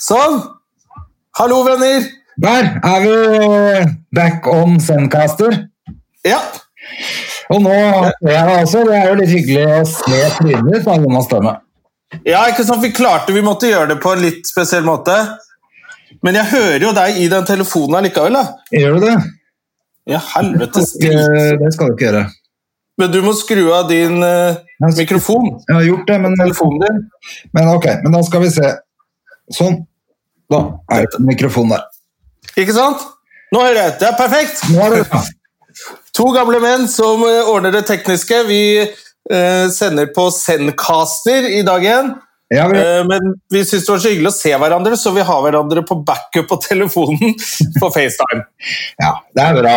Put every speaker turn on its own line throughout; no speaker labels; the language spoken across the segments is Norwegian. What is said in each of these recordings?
Sånn! Hallo, venner!
Der er vi eh, back on Sendcaster.
Ja,
Og nå ser jeg deg også. Det er jo litt hyggelig å se trynet ditt. da, Jonas Støme.
ja ikke sant? Vi klarte vi måtte gjøre det på en litt spesiell måte. Men jeg hører jo deg i den telefonen allikevel. da.
Gjør du det?
Ja, helvete
Eh,
skrik.
Det skal du ikke gjøre.
Men du må skru av din eh, mikrofon.
Jeg har gjort det, men,
Telefonen din.
men ok. Men da skal vi se. Sånn. Da er det mikrofonen der.
Ikke sant? Nå hører jeg. Det er perfekt!
Nå er det bra.
To gamle menn som eh, ordner det tekniske. Vi eh, sender på Sendcaster i dag igjen.
Ja, vi,
Eh, men vi syns det var så hyggelig å se hverandre, så vi har hverandre på backup på telefonen på FaceTime.
ja, det er bra.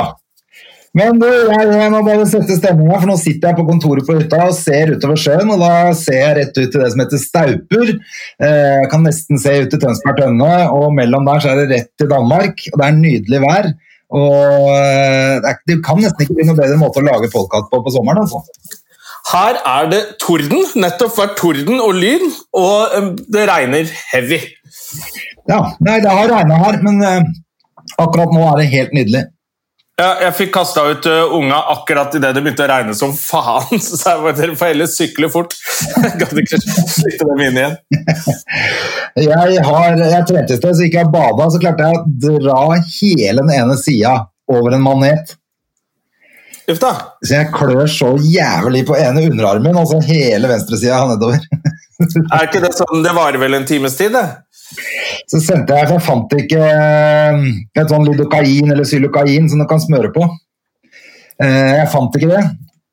Men du, jeg, jeg må bare sette stemninga, for nå sitter jeg på kontoret på hytta og ser utover sjøen. Og da ser jeg rett ut til det som heter Stauper. Eh, jeg kan nesten se ut til Tønsberg Tønne, og mellom der så er det rett til Danmark. Og det er nydelig vær. Og eh, det er ikke- det kan nesten ikke bli noen bedre måte å lage podkast på på sommeren. Altså.
Her er det torden. Nettopp vært torden og lyn, og eh, det regner heavy.
Ja, nei, det har regna her, men eh, akkurat nå er det helt nydelig.
Ja, jeg fikk kasta ut eh, unga akkurat idet det begynte å regne som faen. Så sa jeg bare dere får heller sykle fort. Jeg gadd ikke slippe dem inn igjen.
Jeg, har, jeg trente i sted, så gikk jeg og bada, så klarte jeg å dra hele den ene sida over en manet.
Uff da.
Så jeg klør så jævlig på ene underarmen, og så hele venstresida nedover.
Er ikke det sånn Det varer vel en times tid, det?
Så sendte jeg, for jeg fant ikke eh, et sånn lidokain eller xylokain som du kan smøre på. Eh, Jeg fant ikke det.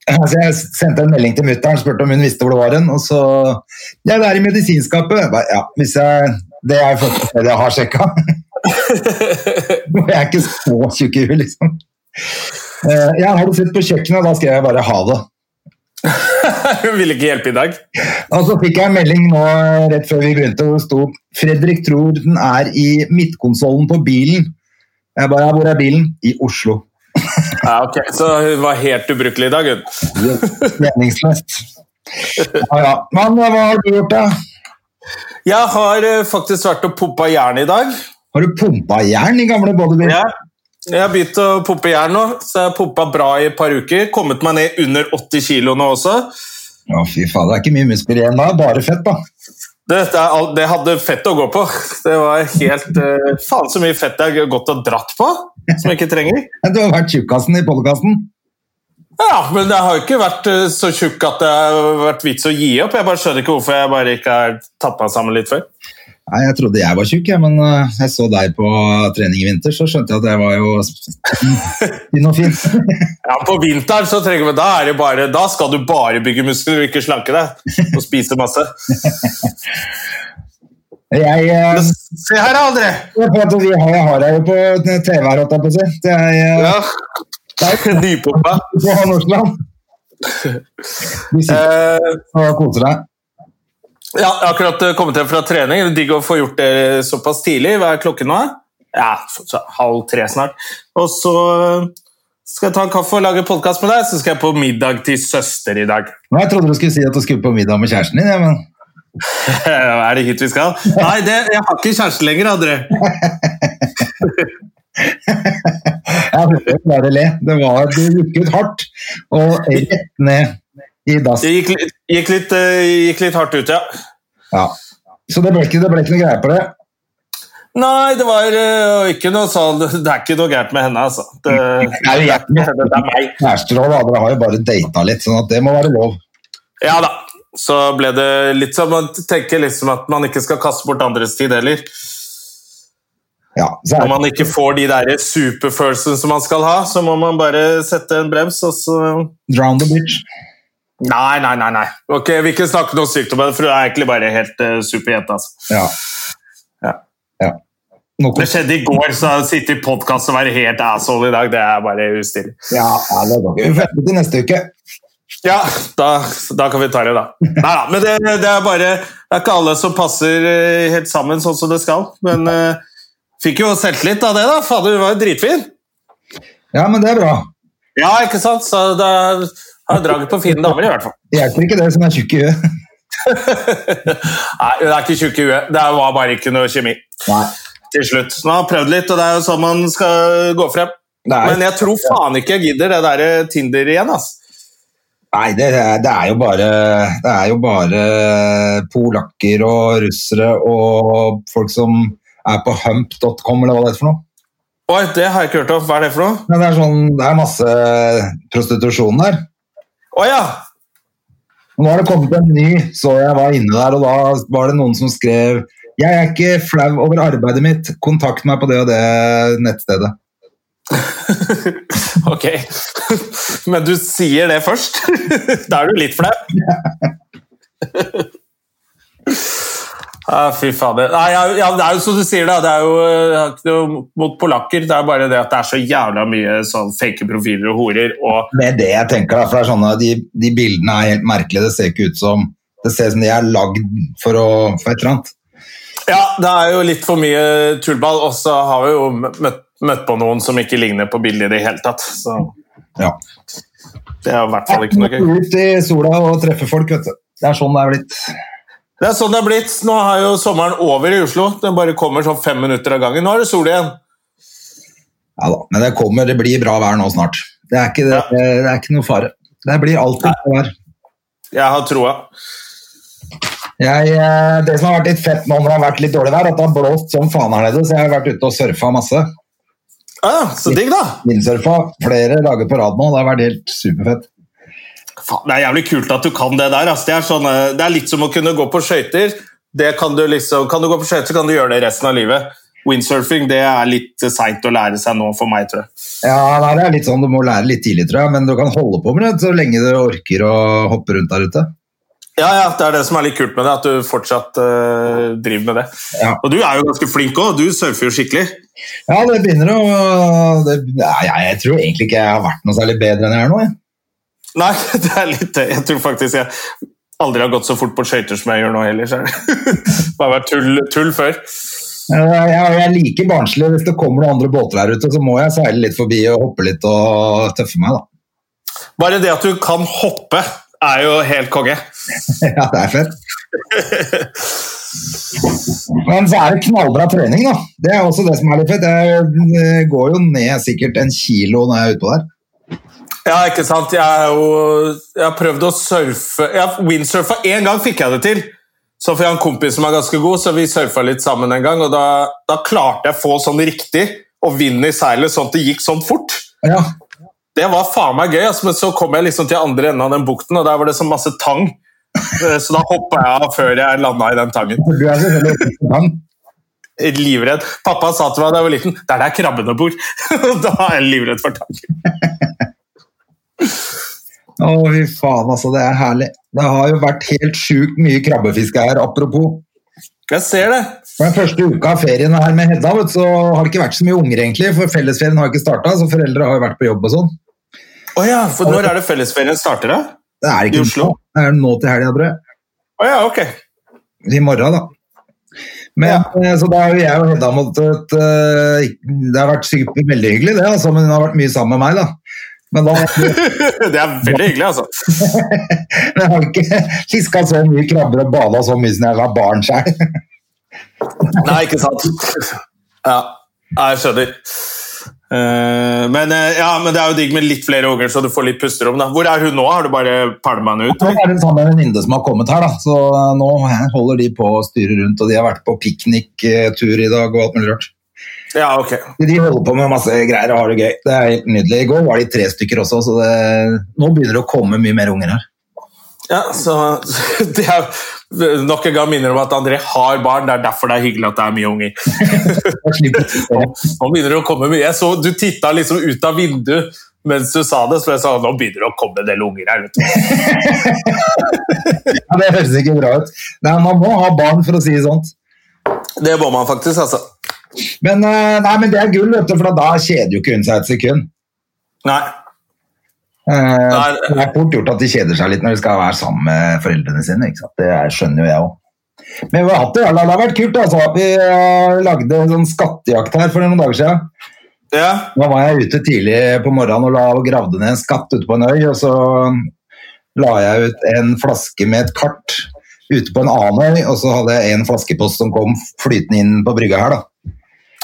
Så jeg sendte en melding til mutter'n og spurte om hun visste hvor det var hen. Og så Ja, det er i medisinskapet. Jeg bare, Ja, hvis jeg Det er faktisk det jeg har sjekka. Jeg er ikke så tjukk i huet, liksom. Eh, Ja, har du sett på kjøkkenet? Da skrev jeg bare 'ha det'.
Hun ville ikke hjelpe i dag.
Og så fikk jeg en melding nå eh, rett før vi begynte, hvor det sto 'Fredrik tror den er i midtkonsollen på bilen'. Jeg bare ja, 'Hvor er bilen?' I Oslo.
Ja, ok. Så hun var helt ubrukelig i dag, hun.
Meningsløst. Ja, ja. Men eh, hva har du gjort, da?
Jeg har eh, faktisk vært og pumpa jern i dag.
Har du pumpa jern i gamle bodybuilder?
Jeg, jeg har begynt å pumpe jern nå, så jeg har pumpa bra i et par uker. Kommet meg ned under 80 kilo nå også.
Å, fy faen, det er ikke mye muskler igjen da. Bare fett, da.
Dette er alt, det hadde fett å gå på. Det var helt eh, Faen så mye fett jeg har gått og dratt på, som jeg ikke trenger.
Du har vært tjukkasen i podkasten.
Ja, Men jeg har jo ikke vært eh, så tjukk at det har vært vits å gi opp. Jeg bare skjønner ikke hvorfor jeg bare ikke har tatt meg sammen litt før.
Nei, Jeg trodde jeg var tjukk, jeg, men eh, jeg så deg på trening i vinter, så skjønte jeg at jeg var jo tynn og fin.
Ja, På vinteren så trenger vi, da, er det bare, da skal du bare bygge muskler og ikke slanke deg. Og spise masse.
Jeg eh,
Se her, da, André!
Jeg vet at vi har, jeg har deg jo på TV her, holdt jeg på å si. Det er eh,
Ja. Nypumpa.
på Nordsland. Du sitter
Eh,
og koser deg.
ja, jeg har akkurat eh, kommet hjem fra trening. Det er Digg å få gjort det såpass tidlig. Hva er klokken nå? Ja, så, så, halv tre snart. Og så eh, skal jeg ta en kaffe og lage podkast med deg, så skal jeg på middag til søster i dag.
Nei, jeg trodde du skulle si at du skulle på middag med kjæresten din, ja, men
er det hit vi skal? Nei, det, jeg har ikke kjæreste lenger, André.
jeg hørte jo bare le. Det var, du gikk ut hardt og rett ned i dass.
Det gikk, litt- gikk, litt, eh, gikk litt hardt ut, ja.
Ja. Så det ble ikke, det ble ikke noe greie på det.
Nei, det var øh, ikke noe sånn Det er ikke noe gærent med henne, altså. Det,
Nei, jeg,
det er meg.
kjærester og da, dere har jo bare data litt, sånn at det må være lov.
Ja da. Så ble det litt sånn Man tenker liksom at man ikke skal kaste bort andres tid heller.
Ja, så
Når
er,
man ikke får de der superfølelsene som man skal ha, så må man bare sette en brems, og så
drown the bitch.
Nei, nei, nei. nei. Ok, Vi vil ikke snakke noe sykt om det, for du er egentlig bare helt uh, superjente. eh, altså.
Ja. Noe
Det skjedde i går, så å sitte i podkast og være helt asshole i dag, det er bare ustilig.
Ja, ja, det går ikke. Vi får vente til neste uke.
Ja, da, da kan vi ta det, da. Neida, men det, det er bare Det er ikke alle som passer eh, helt sammen sånn som det skal. Men eh, fikk jo selvtillit av det, da. Fader, du var jo dritfin.
Ja, men det er bra.
Ja, ikke sant? Så da har jeg draget på fine damer, i hvert fall.
Det hjelper ikke det som er tjukk i huet.
Nei, hun er ikke tjukk i huet. Det var bare ikke noe kjemi
Nei.
til slutt. Nå har jeg prøvd litt, og det er jo sånn man skal gå frem.
Det er-
Men jeg tror faen ikke jeg gidder det der eh, Tinder igjen, ass.
Nei, det, er- det er jo bare Det er jo bare polakker og russere og folk som er på hump.com eller hva det heter for noe.
Oi, det har jeg ikke hørt om. Hva er det for noe?
Men det er sånn Det er masse prostitusjon der.
Å ja!
Og nå har det kommet en ny, så jeg var inne der, og da var det noen som skrev jeg er ikke flau over arbeidet mitt. Kontakt meg på det og det nettstedet.
Ok. Men du sier det først. Da er du litt flau. Ah, fy fader. Nei, ja, ja, det er jo som du sier, da. Det er jo eh, jeg har ikke noe mot polakker. Det er bare det at det er så jævla mye sånn fake profiler og horer. Og
Det er det jeg tenker, da, for det er sånne, de, de bildene er helt merkelige. Det ser ikke ut som Det ser ut som de er lagd for, å, for et eller annet.
ja, det er jo litt for mye tullball. Og så har vi jo møtt, møtt på noen som ikke ligner på bildet i det hele tatt. Så
Ja.
det er i hvert fall ikke noe gøy.
Ut i sola og treffe folk, vet du. Det er sånn det er blitt.
Det er sånn det er blitt. Nå er jo sommeren over i Oslo. Den bare kommer sånn fem minutter av gangen. Nå er det sol igjen.
Ja da. Men det kommer, det blir bra vær nå snart. Det er ikke, det, det er ikke noe fare. Det blir alltid bra vær.
Jeg har troa.
Jeg, eh, det som har vært litt fett nå når det har vært litt dårlig vær, er at det har blåst som faen her nede, så jeg har vært ute og surfa masse.
Ah, så digg, da!
Vindsurfa flere dager på rad nå, det har vært helt superfett.
Faen, det er jævlig kult at du kan det der. ass. Det, er sånn, eh, det er litt som å kunne gå på skøyter. Det Kan du liksom, kan du gå på skøyter, kan du gjøre det resten av livet. Windsurfing det er litt seint å lære seg nå for meg, tror jeg.
Ja, nei, det er litt sånn du må lære litt tidlig, tror jeg, men du kan holde på med det så lenge du orker å hoppe rundt der ute.
Ja, ja, Det er det som er litt kult med det, at du fortsatt eh, driver med det.
Ja.
Og du er jo ganske flink òg. Du surfer jo skikkelig.
Ja, det begynner å det, nei, jeg, jeg tror egentlig ikke jeg har vært noe særlig bedre enn jeg er nå, jeg.
Nei, det er litt det. Jeg tror faktisk jeg aldri har gått så fort på skøyter som jeg gjør nå heller. så er det- Det har vært tull, tull før.
Eh, Jeg, jeg liker barnslig. Hvis det kommer noen andre båter der ute, så må jeg seile litt forbi og hoppe litt og tøffe meg, da.
Bare det at du kan hoppe, er jo helt konge.
Ja, det er fett. Men så er det knallbra trening, da. Det er også det som er litt fett. Jeg eh, går jo ned sikkert en kilo når jeg er utpå der.
Ja, ikke sant? Jeg, er jo, jeg har prøvd å surfe jeg Windsurfa én gang fikk jeg det til. Så får jeg en kompis som er ganske god, så vi surfa litt sammen en gang. Og da, da klarte jeg å få sånn riktig og vind i seilet, sånn at det gikk sånn fort.
Ja,
Det var faen meg gøy, ass, men så kom jeg liksom til andre enden av den bukten, og der var det så masse tang. Eh, Så da hoppa jeg av før jeg landa i den tangen.
for du er selvfølgelig i gang.
Livredd. Pappa sa til meg da jeg var liten 'Det er der krabbene bor'. Og da er jeg livredd for tang.
Å, fy faen, altså. Det er herlig. Det har jo vært helt sjukt mye krabbefiske her, apropos.
Jeg ser det.
For den første uka av ferien her med Hedda, vet, du, så har det ikke vært så mye unger, egentlig. For fellesferien har ikke starta, så foreldre har jo vært på jobb og sånn.
Å ja, for når er det fellesferien starter, da?
Det er
I
ikke
Oslo?
nå. Det er nå til helga, tror jeg.
Å ja, ok.
i morgen, da. Men, eh, Så da har jo jeg og Hedda måttet eh, Det har vært sikkert veldig hyggelig, det, altså, men hun har vært mye sammen med meg, da. Men da
Det er veldig hyggelig, altså.
jeg har ikke fiska så mye krabber og bada så mye som jeg var barn sjøl.
Nei, ikke sant. Ja, ja, jeg skjønner. Eh, men, eh, ja, men det er jo digg med litt flere unger, så du får litt pusterom. da. Hvor er hun nå? Har du bare pælma henne ut?
Nå er det sammen med en sånn venninne som har kommet her, da. Så nå eh, holder de på å styre rundt, og de har vært på pikniktur i dag og alt mulig rart.
Ja, ok.
De holder på med masse greier og har det gøy. Det er helt nydelig. I går var de tre stykker også, så det, nå begynner det å komme mye mer unger her.
Ja, så det er, Nok en gang minner om at André har barn. Det er derfor det er hyggelig at det er mye unger.
Jeg slipper å
Nå begynner det å komme mye. Jeg så Du titta liksom ut av vinduet mens du sa det, så jeg sa nå begynner det å komme en del unger her. vet du.
Ja, det høres ikke bra ut. Nei, man må ha barn for å si sånt.
Det må man faktisk, altså.
sånn. Men, eh, nei, men det er gull, vet du, for da kjeder jo ikke hun seg et sekund.
Nei.
Eh,
Nei.
det er fort gjort at de kjeder seg litt når de skal være sammen med foreldrene sine. Ikke sant? Det er- skjønner jo jeg òg. Men vi har hatt det, jævla- det har vært kult. Altså. Vi eh, lagde en sånn skattejakt her for noen dager siden.
Ja.
Da var jeg ute tidlig på morgenen og, la, og gravde ned en skatt ute på en øy. Og så la jeg ut en flaske med et kart ute på en annen øy, og så hadde jeg en flaskepost som kom flytende inn på brygga her. da.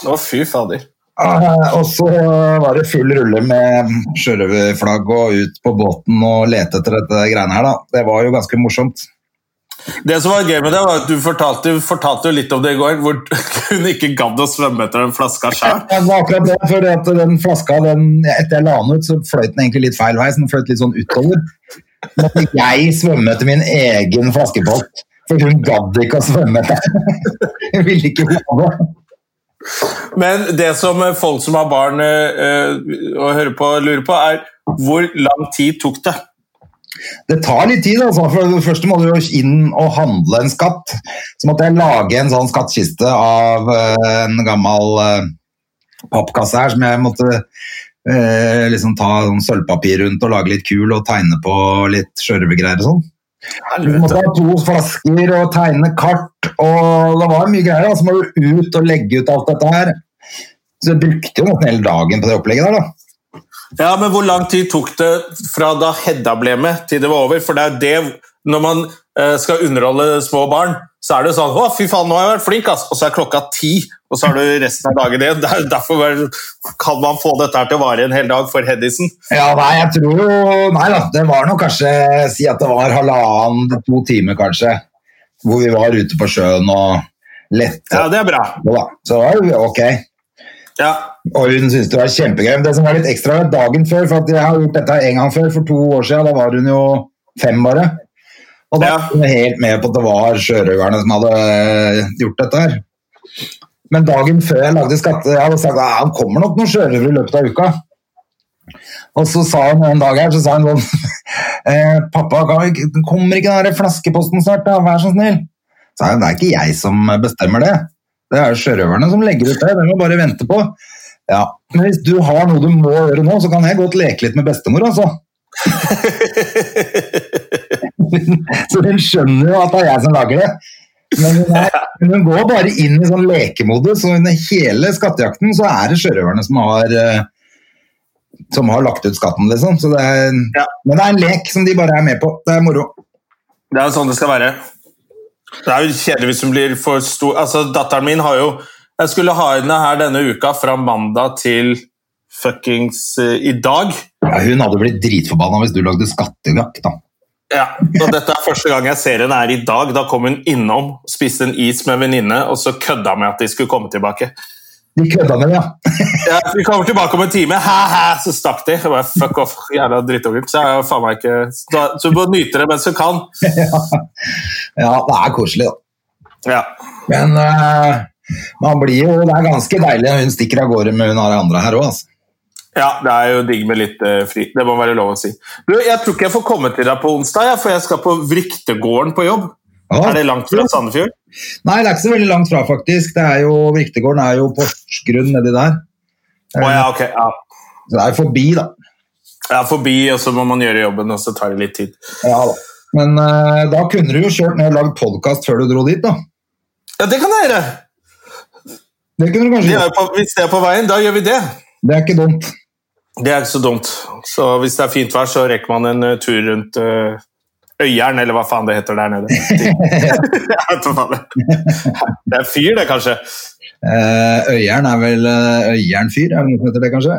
Å, fy fader.
Eh, Og så var det full rulle med sjørøverflagg og ut på båten og lete etter dette greiene her, da. Det var jo ganske morsomt.
Det som var gøy med det, var at du fortalte, fortalte jo litt om det i går, hvor hun ikke gadd å svømme etter den flaska sjøl.
Det var akkurat det, for at den flaska, den, etter jeg la den ut, så fløyt den egentlig litt feil vei, så den fløyt litt sånn utover. Måtte jeg svømme etter min egen flaskepott, for hun gadd ikke å svømme etter den. Hun ville ikke hoppe.
Men det som eh, folk som har barn eh, eh, og hører på, lurer på, er hvor lang tid tok det?
Det tar litt tid, altså. For det første må du jo inn og handle en skatt. Så måtte jeg lage en sånn skattkiste av eh, en gammel eh, pappkasse her, som jeg måtte eh, liksom ta sånn sølvpapir rundt og lage litt kul og tegne på litt sjørøvergreier og sånn. Du måtte ha to flasker og tegne kart, og det var mye greier. da. Så må du ut og legge ut alt dette her. Så jeg brukte jo nesten hele dagen på det opplegget der, da.
Ja, men hvor lang tid tok det fra da Hedda ble med, til det var over? For det er det Når man eh, skal underholde små barn, så er det sånn 'Å, fy faen, nå har jeg vært flink', ass. Og så er klokka ti, og så har du resten av dagen igjen. Det er jo Derfor vel kan man få dette her til å vare en hel dag for Heddisen.
Ja, nei, jeg tror jo Nei da, det var nok kanskje Si at det var halvannen til to timer, kanskje. Hvor vi var ute på sjøen og lette.
Ja, det er bra.
Jo da. Så det var jo ok.
Ja.
Og hun syntes det var kjempegøy. Men det som var litt ekstra, var dagen før. For at jeg har gjort dette en gang før, for to år siden. Da var hun jo fem, bare. Og da
Ja.
var hun helt med på at det var sjørøverne som hadde øh, gjort dette her. Men dagen før jeg lagde skatte, jeg hadde sagt at han kommer nok noen sjørøvere i løpet av uka. Og så sa hun en dag her, så sa hun sånn eh, Pappa, kan vi ikke- kommer ikke den der flaskeposten snart, da? Vær så snill. Så sa hun, det er ikke jeg som bestemmer det. Det er jo sjørøverne som legger ut det. Det må bare vente på. Ja, Men hvis du har noe du må gjøre nå, så kan jeg godt leke litt med bestemor, altså. så hun skjønner jo at det er jeg som lager det. Men hun, er, men hun går bare inn i sånn lekemodus, og under hele skattejakten så er det sjørøverne som har eh, som har lagt ut skatten, liksom. Så det er,
Ja.
Men det er en lek som de bare er med på. Det er moro.
Det er jo sånn det skal være. Det er jo kjedelig hvis hun blir for stor Altså, Datteren min har jo Jeg skulle ha henne her denne uka fra mandag til fuckings eh, i dag.
Ja, hun hadde blitt dritforbanna hvis du lagde skattejakt, da.
Ja, og Dette er første gang jeg ser henne her i dag. Da kom hun innom, spiste en is med en venninne, og så kødda med at de skulle komme tilbake.
De kødda med det, ja.
Ja, vi kommer tilbake om en time, hæ-hæ, så stakk de. Jeg bare, fuck off, jævla drittunger. Så jeg faen meg ikke Så da- så du må nyte det mens du kan.
Ja, det er koselig, da.
Ja.
Men eh, man blir jo Det er ganske deilig når hun stikker av gårde med hun har andre her òg, altså.
Ja, det er jo digg med litt eh, fri. Det må være lov å si. Du, Jeg tror ikke jeg får komme til deg på onsdag, jeg, for jeg skal på Vriktegården på jobb.
Ja.
Er det langt fra Sandefjord?
altså. Nei, det er ikke så veldig langt fra, faktisk. Det er jo, Viktegården er jo Porsgrunn nedi der.
Å ja, ok. Ja.
Så det er jo forbi, da.
Jeg er forbi, og så må man gjøre jobben, og så tar det litt tid.
Ja, da. Men eh, da kunne du jo kjørt ned og lagd podkast før du dro dit, da.
Ja, det kan jeg gjøre!
Det kunne du kanskje
De er
gjort.
jo på, hvis det er på veien, da gjør vi det.
Det er ikke dumt.
Det er ikke så dumt. Så hvis det er fint vær, så rekker man en eh, tur rundt eh, Øyeren, eller hva faen det heter der nede. Jeg vet hva faen det er. Det er fyr, det, kanskje.
Eh, øyeren er vel eh, Øyeren fyr, er det noe som heter det, kanskje?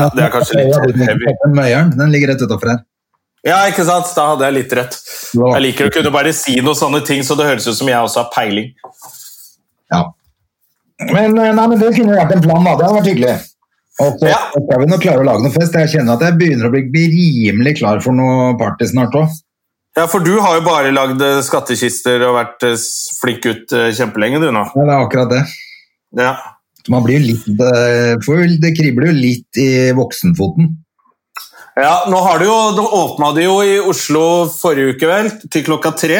Ja, det er kanskje
Øya,
litt
den
heavy.
heter Øyeren, den ligger rett utenfor her.
Ja, ikke sant? Da hadde jeg litt rett.
Ja.
Jeg liker å kunne bare si noen sånne ting, så det høres ut som jeg også har peiling.
Ja. Men, eh, nei, men det kunne vært en plan, da. Det hadde vært hyggelig. Og så
Ja.
skal vi nå klare å lage noe fest. Jeg kjenner at jeg begynner å bli, bli rimelig klar for noe party snart òg.
Ja, for du har jo bare lagd eh, skattkister og vært eh, s- flink gutt eh, kjempelenge, du nå.
Ja, det er akkurat det.
Ja.
Man blir jo litt eh, får- Det kribler jo litt i voksenfoten.
ja, nå har du jo Nå åpna de jo i Oslo forrige uke, vel? Til klokka tre.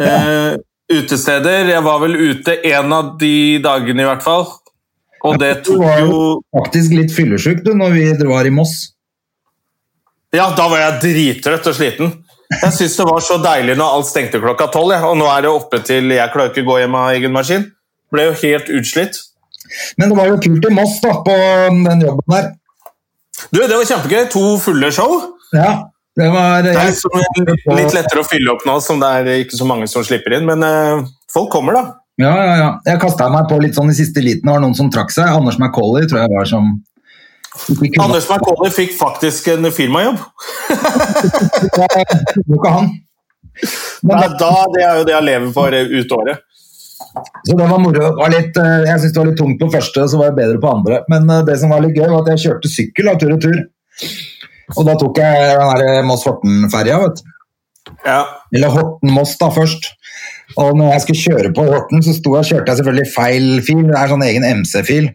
Eh, utesteder. Jeg var vel ute en av de dagene, i hvert fall. Og det
Du
tok
var
jo
jo faktisk litt fyllesyk du, når vi var i Moss.
Ja, da var jeg drittrøtt og sliten. Jeg syns det var så deilig når alt stengte klokka tolv, jeg. og nå er det oppe til jeg klarer ikke å gå hjem av egen maskin. Ble jo helt utslitt.
Men det var jo kult i Moss, da, på den jobben der.
Du, det var kjempegøy. To fulle show.
Ja, det var
Det er som er litt lettere å fylle opp nå som det er ikke så mange som slipper inn, men eh, folk kommer, da.
Ja, ja, ja. Jeg kasta meg på litt sånn i siste liten. Det var noen som trakk seg. Anders McCauley tror jeg var som ikke kunne-
Anders McCauley fikk faktisk en firmajobb.
Det var ikke han. Men
Nei,
da,
da, det er jo det jeg lever for eh, ut året.
så det var moro. Det var litt, eh, jeg syntes det var litt tungt på første, så var jeg bedre på andre. Men eh, det som var litt gøy, var at jeg kjørte sykkel da, tur og tur. Og da tok jeg den her Moss-Horten-ferja, vet du.
Ja.
Eller Horten-Moss da først. Og når jeg skulle kjøre på Horten, så sto jeg, kjørte jeg selvfølgelig feil fil. Det er sånn egen MC-fil.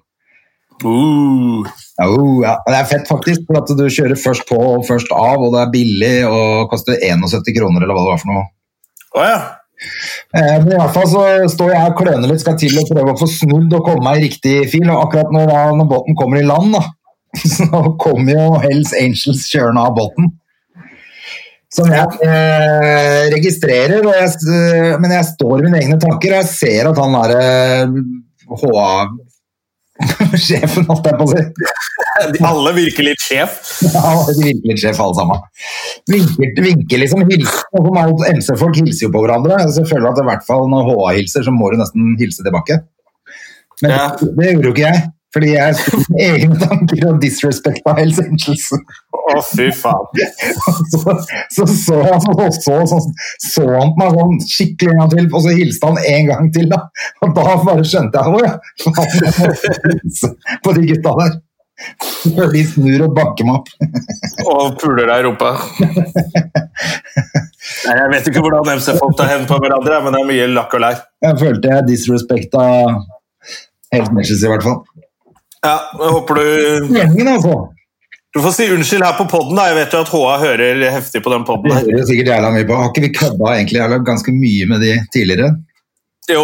Uh.
Oh, ja. Det er fett faktisk, for at du kjører først på og først av, og det er billig og koster 71 kroner eller hva det var for noe.
Å ja.
Eh, Men i hvert fall så står jeg og kløner litt, skal til å prøve å få snudd og komme meg i riktig fil. Og akkurat når, da, når båten kommer i land, da, så kommer jo Hells Angels kjørende av båten. Som jeg eh, registrerer, og jeg, s- eh, men jeg står i mine egne tanker. Og jeg ser at han eh, derre HA-sjefen, holdt jeg på å si
De alle virker litt sjef.
ja, de vinker litt sjef, alle sammen. Vinker, vinker liksom hilser. Og for meg, MC-folk hilser jo på hverandre. Så jeg føler at i hvert fall når HA hilser, så må du nesten hilse tilbake. Men
Ja.
det gjorde jo ikke jeg. Fordi jeg sto med egne tanker og disrespekta Hells Angels.
Å, fy faen.
Så så, så, han- så, så, så, så han på meg sånn skikkelig en gang til, og så hilste han en gang til. Da, og da bare skjønte jeg hvor jeg på de gutta der. Før de snur og banker meg opp.
Og puler deg i rumpa. Nei, jeg vet ikke hvordan MC-folk tar hevn på hverandre, men det er mye lakk og lær.
Jeg følte jeg disrespekta helt Matches, i hvert fall.
Ja, jeg håper du
Meningen, altså.
Du får si unnskyld her på podden, da. Jeg vet jo at HA hører heftig på den
Vi
podden her.
hører jo sikkert jævla mye på. Har ikke vi kødda egentlig jævla ganske mye med de tidligere?
Jo.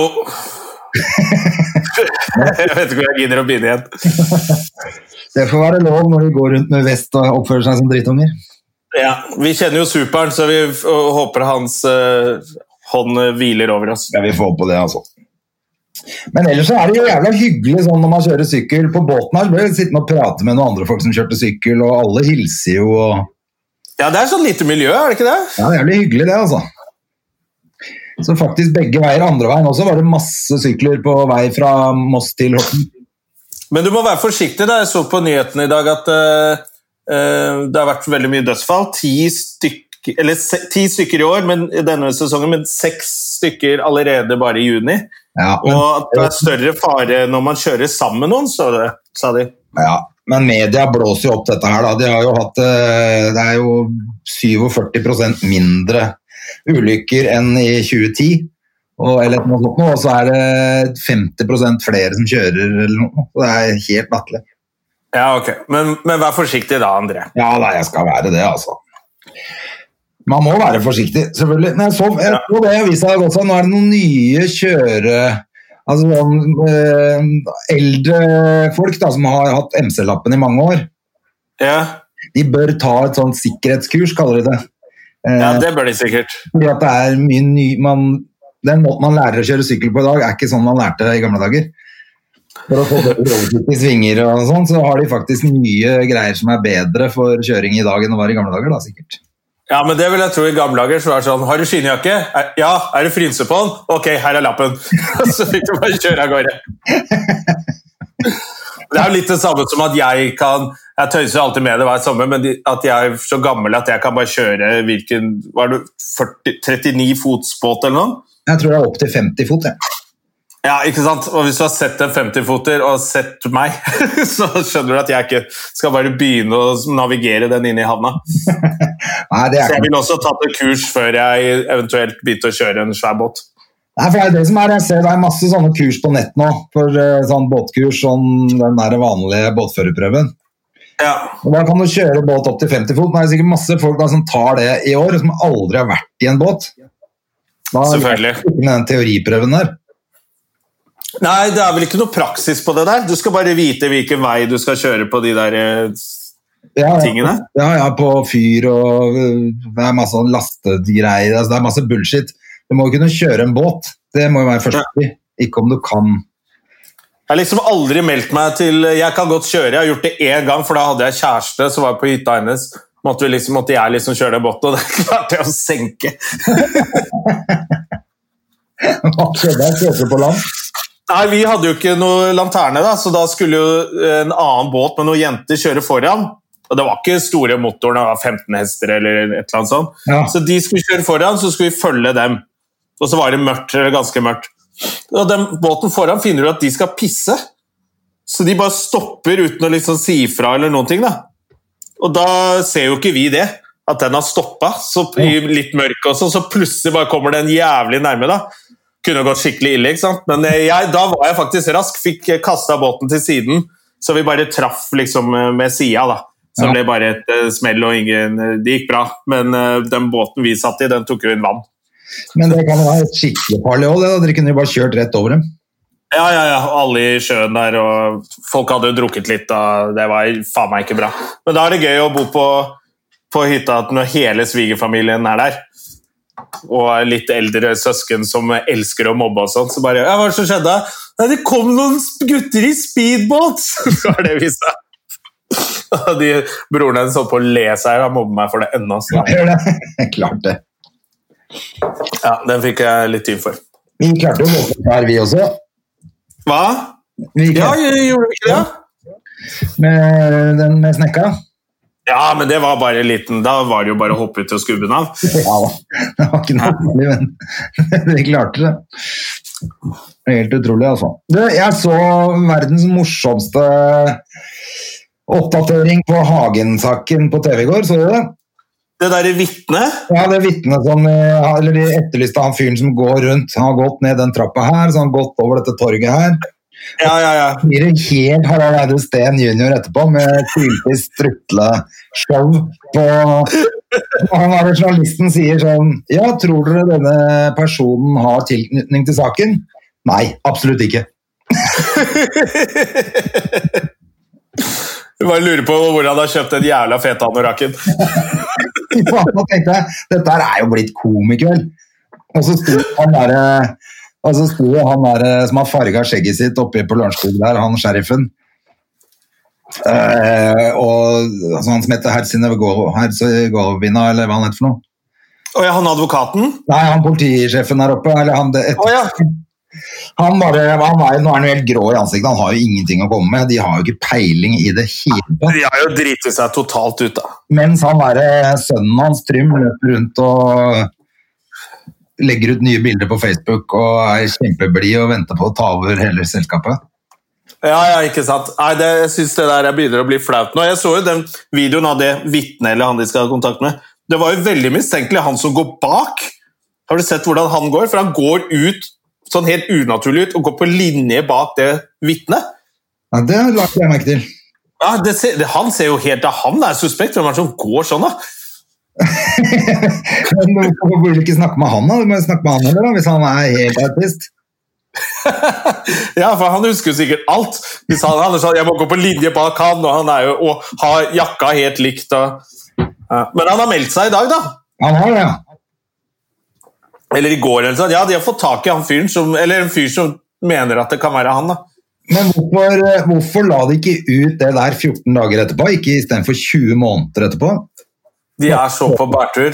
Jeg vet ikke hvor jeg gidder å begynne igjen.
Det får være lov når de går rundt med vest og oppfører seg som drittunger.
Ja, Vi kjenner jo Superen, så vi f- håper hans eh, hånd hviler over oss.
Ja, vi får på det, altså. Men ellers så er det jo jævla hyggelig sånn når man kjører sykkel. På båten her så ble jeg sittende og prate med noen andre folk som kjørte sykkel, og alle hilser jo og
Ja, det er sånn lite miljø, er det ikke det?
Ja, det er jævlig hyggelig det, altså. Så faktisk begge veier, andre veien også, var det masse sykler på vei fra Moss til Horten.
Men du må være forsiktig. da. Jeg så på nyhetene i dag at eh, eh, det har vært veldig mye dødsfall. Ti stykker, eller se, ti stykker i år, men i denne sesongen, men seks stykker allerede bare i juni.
Ja,
Og at det er større fare når man kjører sammen med noen, så det, sa de.
Ja, men media blåser jo opp dette her. Da. De har jo hatt, eh, det er jo 47 mindre ulykker enn i 2010. Og, eller noe sånt, nå, og så er det 50 flere som kjører. Eller noe. Så Det er helt latterlig.
Ja, ok. Men, men vær forsiktig da, André.
Ja, nei, jeg skal være det, altså. Man må være forsiktig, selvfølgelig. Men jeg så, jeg så det i avisa i dag også. Nå er det noen nye kjøre... Altså sånn eh, eldre folk da, som har hatt MC-lappen i mange år.
Ja,
De bør ta et sånt sikkerhetskurs, kaller de det. Eh,
ja det bør de sikkert.
Fordi at det er mye ny... Man, den måten man lærer å kjøre sykkel på i dag, er ikke sånn man lærte det i gamle dager. For å få bedre oversikt i svinger og sånn, så har de faktisk nye greier som er bedre for kjøring i dag enn det var i gamle dager, da, sikkert.
Ja, men det vil jeg tro i gamle dager. så var det sånn, Har du skinnjakke? Er- Ja. Er det frynse på den? Ok, her er lappen. Og så fikk du bare kjøre av gårde. Det er jo litt det samme som at jeg kan Jeg tøyser alltid med det hver sommer, men de- at jeg er så gammel at jeg kan bare kjøre hvilken Var det 40, 39 fots båt eller noe?
Jeg tror det er opp til 50 fot, jeg.
Ja, ikke sant? Og hvis du har sett en 50-foter og sett meg, så skjønner du at jeg ikke skal bare begynne å navigere den inn i havna.
Nei, det er
Så jeg
ikke
ville også tatt et kurs før jeg eventuelt begynte å kjøre en svær båt.
Nei, for det er jo det som er, jeg ser det er masse sånne kurs på nett nå, for eh, sånn båtkurs, sånn den der vanlige båtførerprøven.
Ja.
Og Da kan du kjøre båt opp til 50 fot. Nå er det sikkert masse folk da som tar det i år, og som aldri har vært i en båt. Da
Selvfølgelig.
leser du ikke Den teoriprøven der.
Nei, det er vel ikke noe praksis på det der. Du skal bare vite hvilken vei du skal kjøre på de der eh,
Ja, ja,
Tingene?
ja, ja, på fyr og øh, det er masse sånn lastegreier. Altså, det er masse bullshit. Du må jo kunne kjøre en båt. Det må jo være første pri. Ikke om du kan.
Jeg har liksom aldri meldt meg til Jeg kan godt kjøre. Jeg har gjort det én gang, for da hadde jeg kjæreste som var på hytta hennes. Måtte, vi liksom, måtte jeg liksom kjøre den båten, og det klarte jeg å senke.
Hva skjedde? Jeg kjørte på land.
Nei, Vi hadde jo ikke noe lanterne, da, så da skulle jo en annen båt med noen jenter kjøre foran. Og Det var ikke store motoren, det var 15 hester eller et eller annet sånt.
Ja.
Så de skulle kjøre foran, så skulle vi følge dem. Og så var det mørkt, eller ganske mørkt. Og den båten foran finner ut at de skal pisse. Så de bare stopper uten å liksom si ifra eller noen ting. da. Og da ser jo ikke vi det, at den har stoppa. Så i litt mørke også, så plutselig bare kommer den jævlig nærme. da. Kunne gått skikkelig ille, ikke sant? men jeg, da var jeg faktisk rask. Fikk kasta båten til siden, så vi bare traff liksom med sida, da. Så
Ja.
det ble bare et eh, smell, og ingen eh, Det gikk bra, men eh, den båten vi satt i, den tok jo inn vann.
Men det kan jo være skikkelig farlig òg. Dere kunne jo bare kjørt rett over dem.
Ja, ja, ja. Alle i sjøen der, og folk hadde jo drukket litt. Da. Det var faen meg ikke bra. Men da er det gøy å bo på, på hytta at når hele svigerfamilien er der, og litt eldre søsken som elsker å mobbe og sånn, så bare ja, 'Hva er det som skjedde?' 'Nei, det kom noen sp- gutter i speedbåt!' Det var det vi sa. Og de, broren hennes holdt på å le seg i hjel. Han mobber meg for det ennå. Så.
Gjør det. Klart det.
Ja, den fikk jeg litt tyn for.
Vi klarte jo å gå der, vi også.
Hva?
Vi
Ja,
klarte
gjorde vi ikke det?
med den med snekka.
Ja, men det var bare en liten Da var det jo bare å hoppe ut og skubbe den av.
Ja da. Det var ikke noe farlig, men vi klarte det. Det er Helt utrolig, altså. Du, jeg så verdens morsomste oppdatering på Hagen-saken på TV i går. Så du det?
Det derre vitnet
Ja, det vitnet som eh, Eller de etterlyste han fyren som går rundt. Han har gått ned den trappa her, så har han gått over dette torget her.
Ja, ja, ja.
Blir det helt Harald Eide Steen jr. etterpå med syltig strutleshow på Og Han der journalisten sier sånn Ja, tror dere denne personen har tilknytning til saken? Nei, absolutt ikke.
Du bare lurer på hvor han har kjøpt den jævla fete anorakken.
Fy faen, da tenkte jeg, Dette her er jo blitt komikveld. Og så sto han der, og så sto han der som har farga skjegget sitt oppe på Lørenskog der, han sheriffen. Eh, og altså, han som heter Herzegovina, eller hva han heter for noe.
Og ja, han advokaten?
Nei, han politisjefen der oppe, eller han det
Å ja.
Han bare, han er, jo- nå er han jo helt grå i ansiktet, han har jo ingenting å komme med. De har jo ikke peiling i det hele tatt.
De har jo driti seg totalt ut, da.
Mens han derre sønnen hans, Trym, løper rundt og legger ut nye bilder på Facebook og er kjempeblid og venter på å ta over hele selskapet.
Ja, ja, ikke sant. Nei, det, Jeg syns det der jeg begynner å bli flaut nå. Jeg så jo den videoen av det vitnet eller han de skal ha kontakt med. Det var jo veldig mistenkelig, han som går bak. Har du sett hvordan han går? For han går ut sånn helt unaturlig ut og går på linje bak det vitnet.
Ja, det la ikke jeg merke til.
Ja, det ser, det, han ser jo helt av Han er suspekt. Hvem er det som går sånn, da?
Men Hvorfor vil du ikke snakke med han, da? Du må jo snakke med han heller, da, hvis han er helt autist.
Ja, for Han husker jo sikkert alt. Hvis han hadde sagt jeg må gå på linje bak han, og han er jo, og har jakka helt likt og ja. Men han har meldt seg i dag, da.
Han har det, ja.
Eller i går. eller sånn. Ja, De har fått tak i han fyren som, eller en fyr som mener at det kan være han. da.
Men hvorfor, eh, hvorfor la de ikke ut det der 14 dager etterpå, ikke istedenfor 20 måneder etterpå?
De er så på bærtur.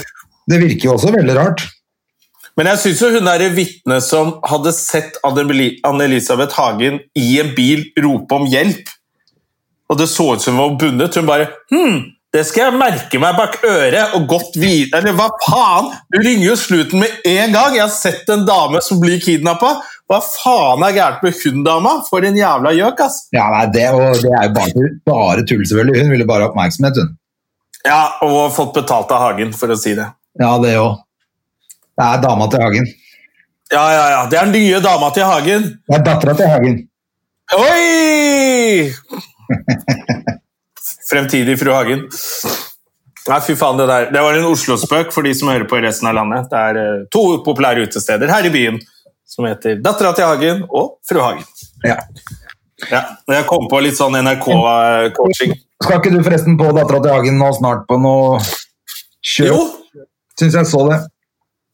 Det virker jo også veldig rart.
Men jeg syns hun er vitnet som hadde sett Anne-Beli- Anne-Elisabeth Hagen i en bil rope om hjelp, og det så ut som hun var bundet. Hun bare Hm, det skal jeg merke meg bak øret og godt videre Eller hva faen? Du ringer jo sluten med en gang! Jeg har sett en dame som blir kidnappa. Hva faen er gærent med hun dama? For en jævla gjøk, ass!
Ja, nei, det, og det er jo bare, bare tull, selvfølgelig. Hun ville bare ha oppmerksomhet, hun.
Ja, og fått betalt av Hagen, for å si det.
Ja, det òg. Det er dama til Hagen.
Ja, ja, ja. Det er den nye dama til Hagen.
Det er dattera til Hagen.
Oi! Fremtidig fru Hagen. Nei, fy faen, Det der. Det var en Oslo-spøk for de som hører på i resten av landet. Det er eh, to populære utesteder her i byen som heter Dattera til Hagen og Fru Hagen.
Ja.
Ja, Jeg kom på litt sånn NRK-coaching.
Skal ikke du forresten på Dattera til Hagen nå snart på noe kjøp?
Jo,
Syns jeg så det.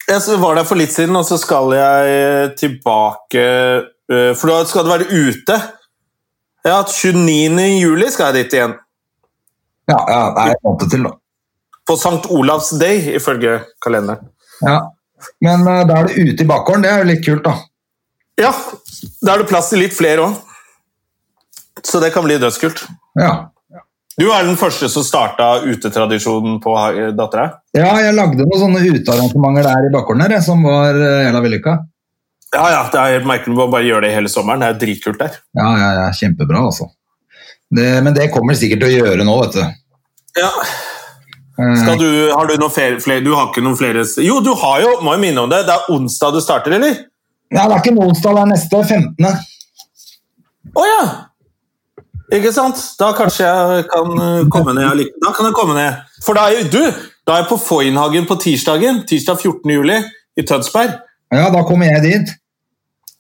jeg s- var der for litt siden, og så skal jeg eh, tilbake eh, For da skal det være ute. Ja, 29. juli skal jeg dit igjen.
Ja, ja, det er en måned til, da.
På Sankt Olavs Day, ifølge kalenderen.
Ja. Men eh, da er det ute i bakgården. Det er jo litt kult, da.
Ja, da er det plass til litt flere òg. Så det kan bli dødskult.
Ja.
Du er den første som starta utetradisjonen på ha- dattera.
ja, jeg lagde noen sånne utearrangementer der i bakgården her, jeg, som var eh, jævla vellykka.
Ja, ja, det er helt merkelig. Vi må bare gjøre det hele sommeren. Det er jo dritkult der.
Ja, ja, ja, kjempebra, altså. Det, men det kommer de sikkert til å gjøre nå, vet du.
Ja. Skal du, har du noen flere, flere Du har ikke noen flere s- Jo, du har jo, må jo minne om det. Det er onsdag du starter, eller?
Ja, det er ikke en onsdag, det er neste 15.
Å ja! Ikke sant? Da kanskje jeg kan eh, komme ned. allike- Da kan jeg komme ned. For da er jo du Da er jeg på Foynhagen på tirsdagen. Tirsdag 14. juli i Tønsberg.
Ja, da kommer jeg dit.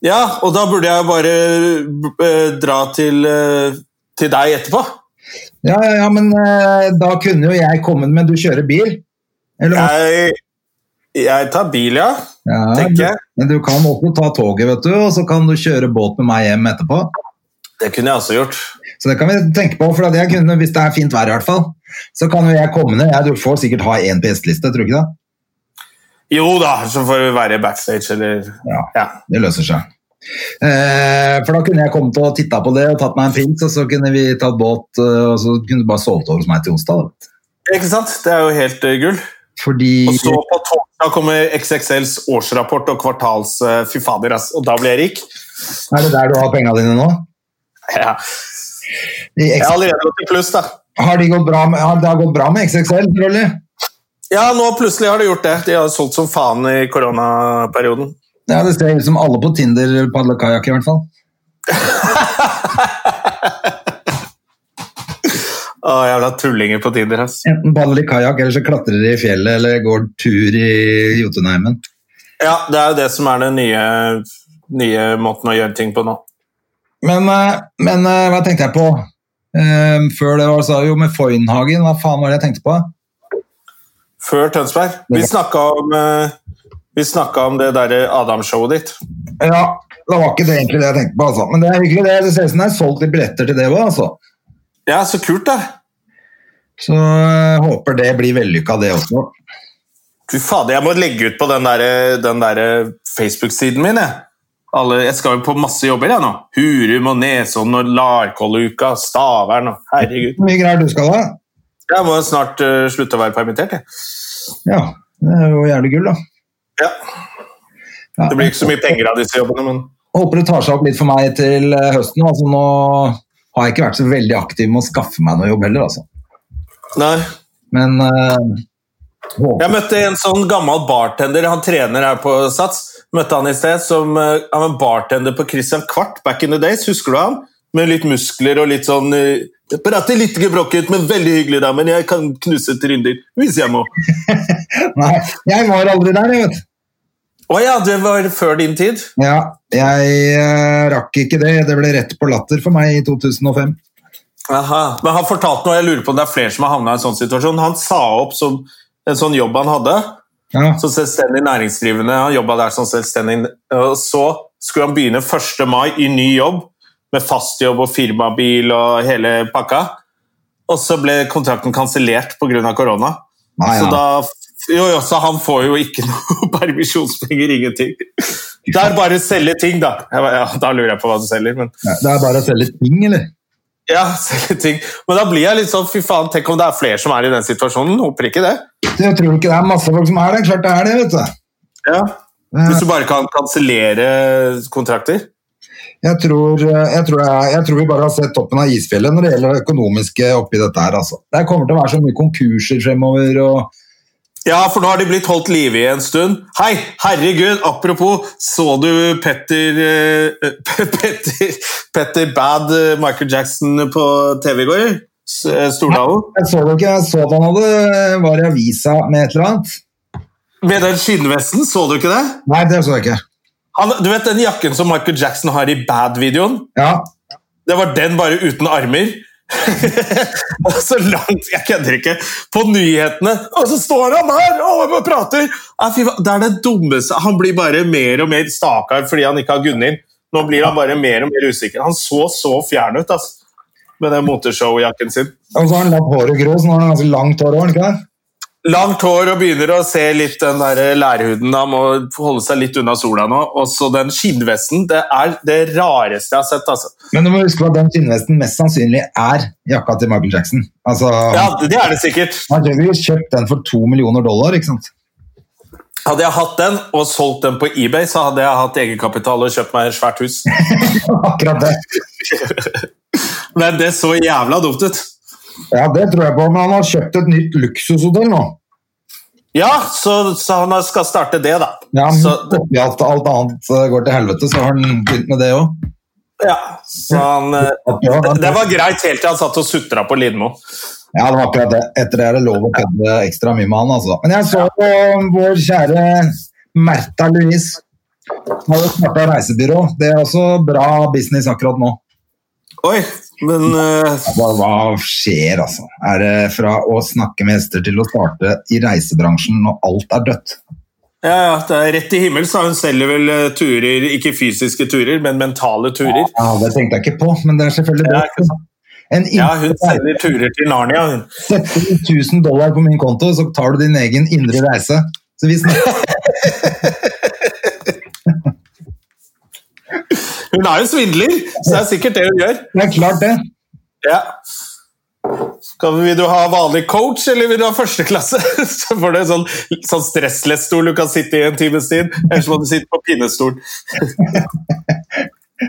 Ja, og da burde jeg bare eh, dra til, eh, til deg etterpå.
Ja, ja, ja, men eh, da kunne jo jeg kommet, men du kjører bil? Eller,
Jeg, jeg tar bil, ja.
Ja,
tenker jeg.
du- Men du kan også ta toget, vet du, og så kan du kjøre båt med meg hjem etterpå.
Det kunne jeg også gjort.
Så det kan vi tenke på, for at jeg kunne, hvis det er fint vær i hvert fall, så kan jo jeg komme ned. Jeg, du får sikkert ha én på gjesteliste, tror du ikke det?
Jo da, så får vi være backstage, eller
Ja.
Ja.
Det løser seg. Eh, for da kunne jeg kommet og titta på det og tatt meg en prins, og så kunne vi tatt båt, eh, og så kunne du bare sovet over hos meg til onsdag. Da.
Ikke sant? Det er jo helt eh, gull.
Fordi
Og så på torsdag kommer XXLs årsrapport og kvartals eh, Fy fader, ass. Og da blir jeg rik.
Er det der du har penga dine nå?
Ja.
I
Jeg
X-
har allerede gått i pluss, da.
Har de gått bra med, har det har gått bra med XXL, selvfølgelig?
Ja, nå plutselig har de gjort det. De har solgt som faen i koronaperioden.
Ja, det ser ut som alle på Tinder padler kajakk, i hvert fall.
Å, jævla tullinger på Tinder, ass.
Enten padler de kajakk, eller så klatrer de i fjellet, eller går tur i Jotunheimen.
Ja, det er jo det som er den nye, nye måten å gjøre ting på nå.
Men, eh, men eh, hva tenkte jeg på? Eh, før det var så jo med Foynhagen, hva faen var det jeg tenkte på?
Før Tønsberg. Vi snakka om, eh, vi snakket om det derre Adam-showet ditt.
Ja, det var ikke det egentlig det jeg tenkte på, altså. Men det er hyggelig, det. Det ser ut som det er solgt litt billetter til det òg, altså.
Ja, så kult, da!
Så eh, håper det blir vellykka, det også.
Fy fader, jeg må legge ut på den derre den derre Facebook-siden min, jeg. Alle, jeg skal jo på masse jobber, jeg nå. Hurum og Nesodden og Larkolluka, Stavern og Herregud.
Hvor mye greier du skal ha?
Jeg må jo snart eh, slutte å være permittert, jeg.
Ja, det er jo jævlig gull, da.
Ja.
Ja.
Det blir ikke så mye penger av disse jobbene, men
Håper det tar seg opp litt for meg til eh, høsten. Altså, nå har jeg ikke vært så veldig aktiv med å skaffe meg noe jobb heller, altså.
Nei.
Men eh, håper
Jeg møtte en sånn gammel bartender, han trener her på Sats. Møtte han i sted som eh, han var bartender på Christian Kvart back in the days. Husker du han? Med litt muskler og litt sånn eh, jeg Prater litt gebrokket, men veldig hyggelig, da. Men jeg kan knuse trynder hvis jeg må.
Nei, jeg var aldri der, jeg vet.
Å ja, det var før din tid?
Ja, jeg eh, rakk ikke det. Det ble rett på latter for meg i 2005.
Aha. Men han fortalte noe, jeg lurer på om det er flere som har havna i en sånn situasjon. Han sa opp som en sånn jobb han hadde.
Ja,
som selvstendig næringsdrivende. Han jobba der som selvstendig. Og så skulle han begynne 1. mai i ny jobb, med fast jobb og firmabil og hele pakka. Og så ble kontrakten kansellert pga. korona.
Nei,
Så
ja.
da jo, jo, så han får jo ikke noe permisjonspenger, ingenting. Det er bare å selge ting, da. Jeg bare, ja, da lurer jeg på hva du selger, men
Ja, Det er bare å selge ting, eller?
Ja, selge ting. Men da blir jeg litt sånn, fy faen, tenk om det er flere som er i den situasjonen. Håper ikke det.
Jeg tror ikke det er masse folk som er der. Klart det er det, vet du.
Ja.
Eh.
Hvis du bare kan kansellere kontrakter.
Jeg tror, eh, jeg, tror jeg, jeg tror vi bare har sett toppen av isfjellet når det gjelder det økonomiske oppi dette her, altså. Det kommer til å være så mye konkurser fremover og
Ja, for nå har de blitt holdt live i en stund. Hei, herregud, apropos, så du Petter eh, Pe- Petter, Petter Bad eh, Michael Jackson på TV i går? S- eh, Stordalen.
Jeg så det ikke, jeg så at han hadde eh, var i avisa med et eller annet.
Med den skinnvesten, så du ikke det?
Nei, det så jeg ikke.
Han, du vet den jakken som Michael Jackson har i Bad-videoen?
Ja,
Det var den bare uten armer. og så langt Jeg kødder ikke. På nyhetene, og så står han der og prater! Ja, fy faen, Det er det dummeste Han blir bare mer og mer stakkar fordi han ikke har Gunhild. Nå blir han bare mer og mer usikker. Han så så fjern ut altså, med den moteshow-jakken sin.
Og så har han latt håret gro, så nå har han ganske langt hår òg. ikke det?
Langt hår og begynner å se litt den der lærhuden. Han må holde seg litt unna sola nå. Og så den skinnvesten. Det er det rareste jeg har sett. altså.
Men du må huske på at den skinnvesten mest sannsynlig er jakka til Michael Jackson. Altså,
Ja, Det er det sikkert.
Han har sikkert kjøpt den for to millioner dollar, ikke sant?
Hadde jeg hatt den og solgt den på eBay, så hadde jeg hatt egenkapital og kjøpt meg et svært hus.
Akkurat det.
Men det så jævla dumt ut.
Ja, det tror jeg på, men han har kjøpt et nytt luksushotell nå.
Ja, så, så han skal starte det, da.
Ja, men
så,
oppi at alt annet eh, går til helvete, så har han begynt med det òg.
ja, så han eh, det, det var greit helt til han satt og sutra på Lindmo.
Ja, det var akkurat det. Etter det er det lov å kødde ekstra mye med han, altså. Men jeg så på vår kjære Märtha Louise. Hun har jo starta reisebyrå. Det er også bra business akkurat nå.
Oi, men eh,
Hva, hva skjer, altså? Er det fra å snakke med hester til å starte i reisebransjen når alt er dødt?
ja, ja, det er rett i himmel, så hun selger vel eh, turer, ikke fysiske turer, men mentale turer.
Ja, Det tenkte jeg ikke på, men det er selvfølgelig
Ja, ikke
det. En
Ja,
indre
hun selger turer til Narnia, hun.
Setter du 1000 dollar på min konto, så tar du din egen indre reise. Så vi snakker
Hun er jo svindler, så det er sikkert det hun gjør.
Det er klart, det.
Ja. Skal, vil du ha vanlig coach, eller vil du ha førsteklasse? Så får du en sånn, sånn stressless-stol du kan sitte i en times tid. Ellers må du sitte på pinnestol.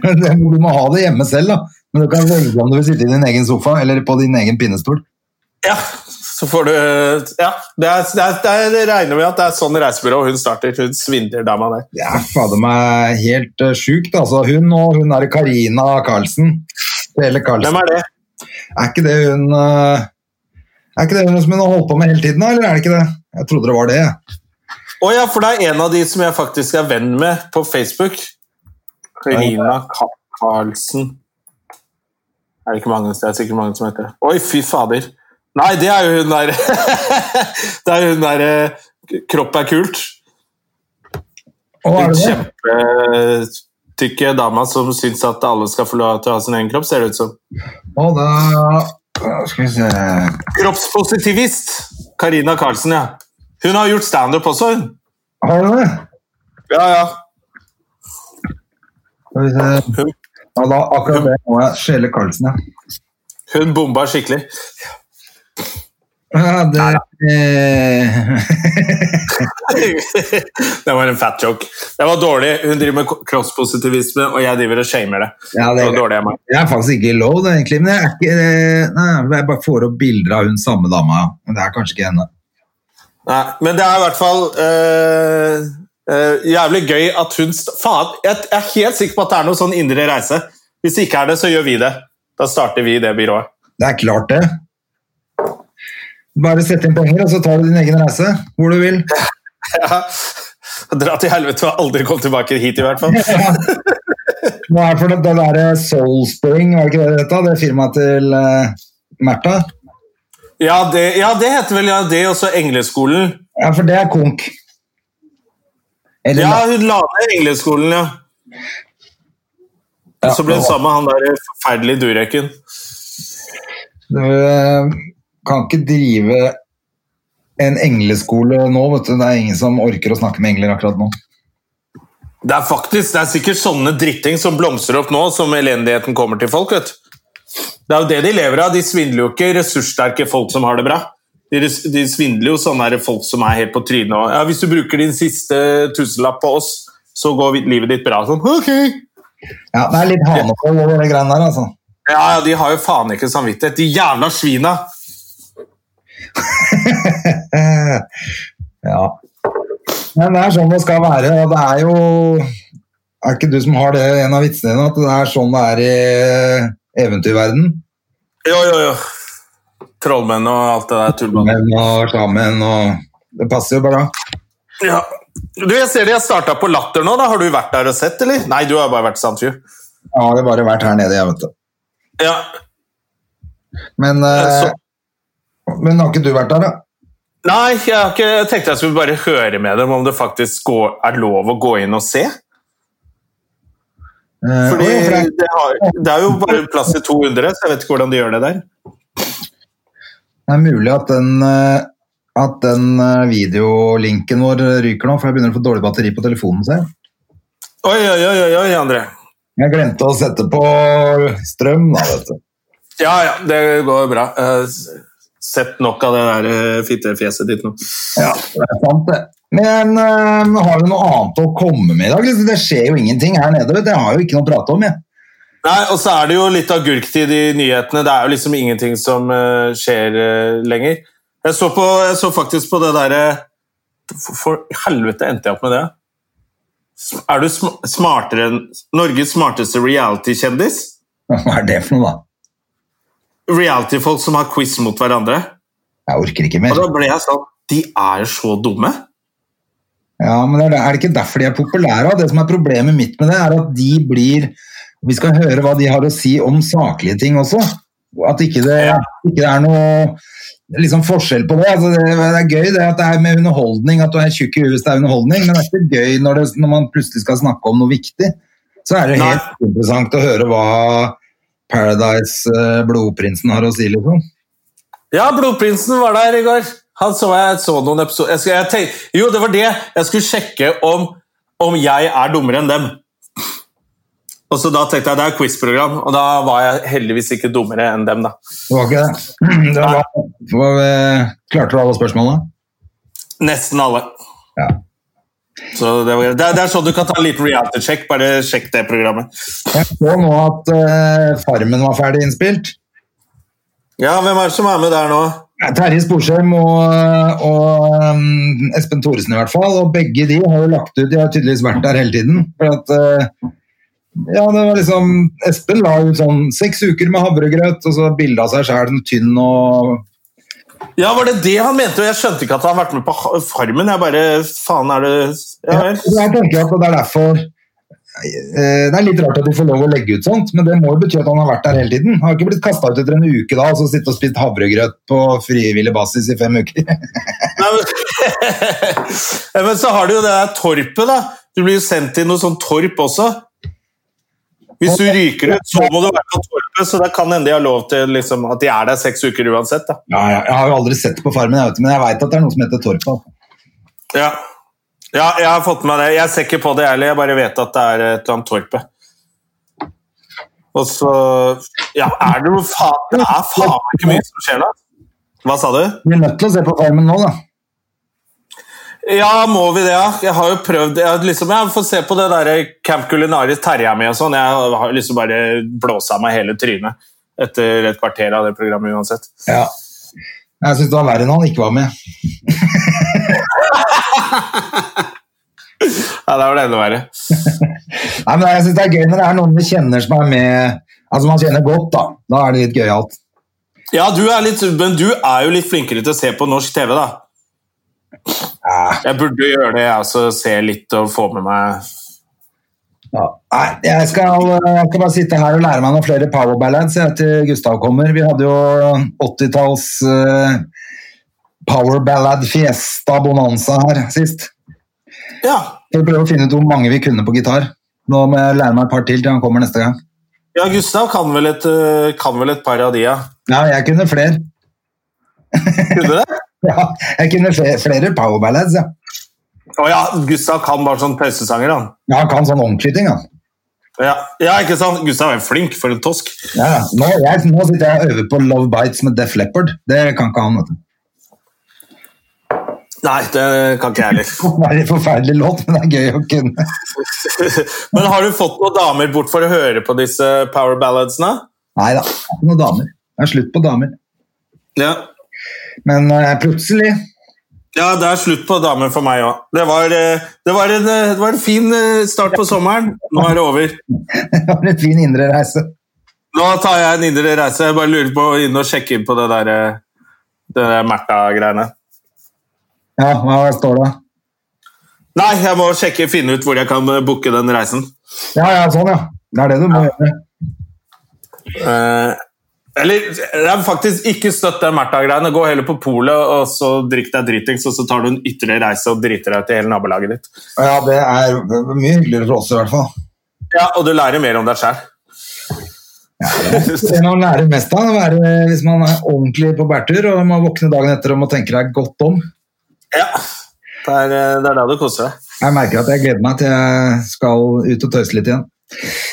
Men det- Du må ha det hjemme selv, da. Men du kan velge om du vil sitte i din egen sofa eller på din egen pinnestol.
Ja, så får du Ja, det, er, det, er, det, er, det regner med at det er sånn reisebyrå hun starter. Hun svindler dama der.
Det er fader meg helt eh, sjukt, altså. Hun og hun er Karina Karlsen. Hele Karlsen.
Hvem er det?
Er ikke det hun eh, Er ikke det hun som hun har holdt på med hele tiden, da, eller er det ikke det? Jeg trodde det var det. jeg.
Å ja, for det er en av de som jeg faktisk er venn med på Facebook. Karina Ka- Karlsen. Er det ikke mange Det er sikkert mange som heter det. Oi, fy fader. Nei, det er jo hun der Det er jo hun der eh, Kropp er kult.
Å, er det
Den
det?
kjempetykke dama som syns at alle skal få lov til å ha sin egen kropp, ser det ut som.
Å, da eh, Skal vi se
Kroppspositivist! Karina Karlsen, ja. Hun har gjort standup også, hun.
Har du det?
Ja, ja.
Skal vi se.
Hun,
Ja, da, akkurat det må jeg skjele Karlsen, ja.
hun bomba skikkelig.
Ja, det eh,
det var en fat joke. Det var dårlig. Hun driver med kroppspositivisme, og jeg driver og shamer det.
Ja, det
det,
er
var dårlig av meg.
Det er faktisk ikke lov, det, egentlig. Men jeg, er ikke, eh, nei, jeg bare får opp bilder av hun samme dama. ja. Men det er kanskje ikke henne.
Nei, men det er i hvert fall øh, øh, jævlig gøy at hun st Faen, jeg, jeg er helt sikker på at det er noe sånn indre reise. Hvis det ikke er det, så gjør vi det. Da starter vi det byrået.
Det er klart, det. Bare sette inn penger, og så tar du din egen reise hvor du vil.
Ja. Dra til helvete og aldri komme tilbake hit, i hvert fall.
Hva er for det, det der Soulspring, var det ikke det det het? Det firmaet til uh, Märtha?
Ja, det, ja, det heter vel ja, det, og så Engleskolen.
Ja, for det er konk. Eller,
Ja, hun la ned Engleskolen, ja.
Ja,
Så ble hun sammen med han der forferdelige durøyken.
Du eh, kan ikke drive en engleskole nå, vet du. Det er ingen som orker å snakke med engler akkurat nå.
Det er faktisk, det er sikkert sånne dritting som blomstrer opp nå, som elendigheten kommer til folk. vet du. Det er jo det de lever av. De svindler jo ikke ressurssterke folk som har det bra. De, res- de svindler jo sånne her folk som er helt på trynet. Og, ja, 'Hvis du bruker din siste tusenlapp på oss, så går vi- livet ditt bra.' Sånn, ok.
Ja, det er litt hanefold over det greiene der, altså.
Ja, ja, de har jo faen ikke samvittighet. De jævla svina!
Eh, ja. Men det er sånn det skal være, og det er jo Er ikke du som har det i en av vitsene dine, at det er sånn det er i eventyrverden?
Jo, jo, jo. Trollmenn og alt det der tullballet.
Men og sammen og Det passer jo bare.
Ja. Du, jeg ser de har starta på Latter nå. da. Har du vært der og sett, eller? Nei, du har bare vært i Sandfjord.
Jeg har det bare vært her nede, jeg, vet du.
Ja.
Men, eh,
Så-
men har ikke du vært der, da?
Nei, jeg, har ikke, jeg tenkte jeg skulle bare høre med dem om det faktisk går, er lov å gå inn og se.
Eh,
Fordi
oi, for det er-
det, har, det er jo bare plass til 200, så jeg vet ikke hvordan de gjør det der.
Det er mulig at den, eh, at den eh, videolinken vår ryker nå, for jeg begynner å få dårlig batteri på telefonen. Ser. jeg.
Oi, oi, oi, oi, oi, André.
Jeg glemte å sette på strøm, da, vet du.
Ja, ja, det går bra. Eh, s- Sett nok av det der eh, fittefjeset ditt nå.
Ja, det er sant, det. Men eh, har du noe annet å komme med i dag? Liksom, Det skjer jo ingenting her nede. vet du. Jeg har jo ikke noe å prate om, jeg.
Nei, og så er det jo litt agurktid i nyhetene. Det er jo liksom ingenting som eh, skjer eh, lenger. Jeg så, på, jeg så faktisk på det derre for, for helvete endte jeg opp med det? Er du sm smartere enn Norges smarteste reality-kjendis?
Hva er det for noe, da?
Reality-folk som har quiz mot hverandre.
Jeg orker ikke
Og
mer.
da ble jeg sånn De er jo så dumme.
Ja, men er det, er det ikke derfor de er populære? da? Det som er problemet mitt med det, er at de blir Vi skal høre hva de har å si om saklige ting også. At ikke det, ikke det er noe liksom forskjell på det. Altså, det. Det er gøy det at det er med underholdning, at du er tjukk i huet hvis det er underholdning, men det er ikke gøy når, det, når man plutselig skal snakke om noe viktig. Så er det
Nei.
helt interessant å høre hva Paradise eh, Blodprinsen har å si, liksom.
Ja, Blodprinsen var der i går. Han så jeg så noen episoder jeg skal, jeg tenk, Jo, det var det. Jeg skulle sjekke om, om jeg er dummere enn dem. Og så Da tenkte jeg det er quiz-program, og da var jeg heldigvis ikke dummere enn dem. da.
Det var ikke det. det var, hva- klarte du alle spørsmålene?
Nesten alle.
Ja.
Så Det, var, det, er- det er sånn du kan ta en liten reality-sjekk. Bare sjekk det programmet.
Jeg så nå at eh, Farmen var ferdig innspilt.
Ja, Hvem er det som er med der nå?
Ja, Terje Sporsheim og, og um, Espen Thoresen i hvert fall, og begge de har jo lagt ut, de har tydeligvis vært der hele tiden. For at, eh, ja, det var liksom, Espen la ut sånn seks uker med havregrøt, og så bildet av seg selv som tynn og...
Ja, Var det det han mente? Og Jeg skjønte ikke at han har vært med på Ha- Farmen. Jeg bare, faen er det... Ja,
Ja,
vel.
jeg tenker at det er derfor... eh, Det er litt rart at de får lov å legge ut sånt, men det må jo bety at han har vært der hele tiden. Han har ikke blitt kastet ut etter en uke da, og så sittet og spist havregrøt på frivillig basis i fem uker.
Nei, men, Ja, men så har du jo det der torpet, da. Du blir jo sendt til noe sånn torp også. Hvis du ryker ut, så må du være på torpet, så det kan hende de har lov til liksom, at de er der seks uker uansett. da.
Ja, ja, jeg har jo aldri sett på Farmen, jeg vet, men jeg veit at det er noe som heter altså. Torpa.
Ja. ja, jeg har fått med meg det. Jeg ser ikke på det, jeg heller. Jeg bare vet at det er et eller annet torpet. Og så Ja, er det noe faen Det er faen meg ikke mye som skjer nå. Hva sa du?
Vi er nødt til å se på Farmen nå, da.
Ja, må vi det? ja? Jeg har jo prøvd Jeg, har liksom, jeg får se på det der Camp Culinaris Terje er med og sånn. Jeg har liksom bare blåsa meg hele trynet etter et kvarter av det programmet uansett.
Ja. Jeg syns det var verre når han ikke var med.
Ja, det var det enda verre.
Nei, men jeg synes det er gøy når det er noen vi kjenner som er med Altså man kjenner godt, da. Da er det litt gøyalt.
Ja, du er litt, men du er jo litt flinkere til å se på norsk TV, da.
Ja.
Jeg burde gjøre det, jeg også. Se litt og få med meg
Ja. Nei, jeg skal, jeg skal bare sitte her og lære meg noen flere power ballads jeg, til Gustav kommer. Vi hadde jo 80-talls eh, power ballad fiesta bonanza her sist.
Ja,
Skal prøve å finne ut hvor mange vi kunne på gitar. Nå må jeg lære meg et par til til han kommer neste gang.
ja Gustav kan vel et, eh, kan vel et par av de, ja.
Ja, jeg kunne flere.
Kunne det?
Ja, jeg kunne flere, flere power ballads, ja.
Å ja, Gustav kan bare sånn pausesanger, han.
Ja, han kan sånn ordentlig ting, han.
Ja. ja, ikke sant? Gustav er flink, for en tosk.
Ja, ja. nå, jeg, nå sitter jeg og øver på Love Bites med Def Leppard. Det kan ikke han, vet du.
Nei, det kan ikke jeg heller.
Det er en forferdelig låt, men det er gøy å kunne.
Men har du fått noen damer bort for å høre på disse power balladsene?
Nei da, det er ikke noen damer. Det er slutt på damer.
Ja.
Men eh, plutselig
Ja, det er slutt på damer for meg òg. Det, var, eh, det, var en, eh, det var en fin eh, start på sommeren. Nå er det over.
var det en fin indre reise.
Nå tar jeg en indre reise. Jeg bare lurer på å inn og sjekke inn på det der eh, det der Märtha-greiene.
Ja, hva står det?
Nei, jeg må sjekke, finne ut hvor jeg kan eh, booke den reisen.
Ja, ja, sånn, ja. Det er det du må gjøre.
Eh, eller det er faktisk ikke støtt den Märtha-greiene. Gå heller på polet og så drikk deg dritings, og så tar du en ytterligere reise og driter deg til hele nabolaget ditt.
Ja, det er mye hyggeligere for oss i hvert fall.
Ja, Og du lærer mer om deg sjæl.
Det man lærer mest av, er å være- hvis man er ordentlig på bærtur og man våkner dagen etter og må tenke deg godt om.
Ja. Det er, eh, det er da du koser deg.
Jeg merker at jeg gleder meg til jeg skal ut og tøyse litt igjen.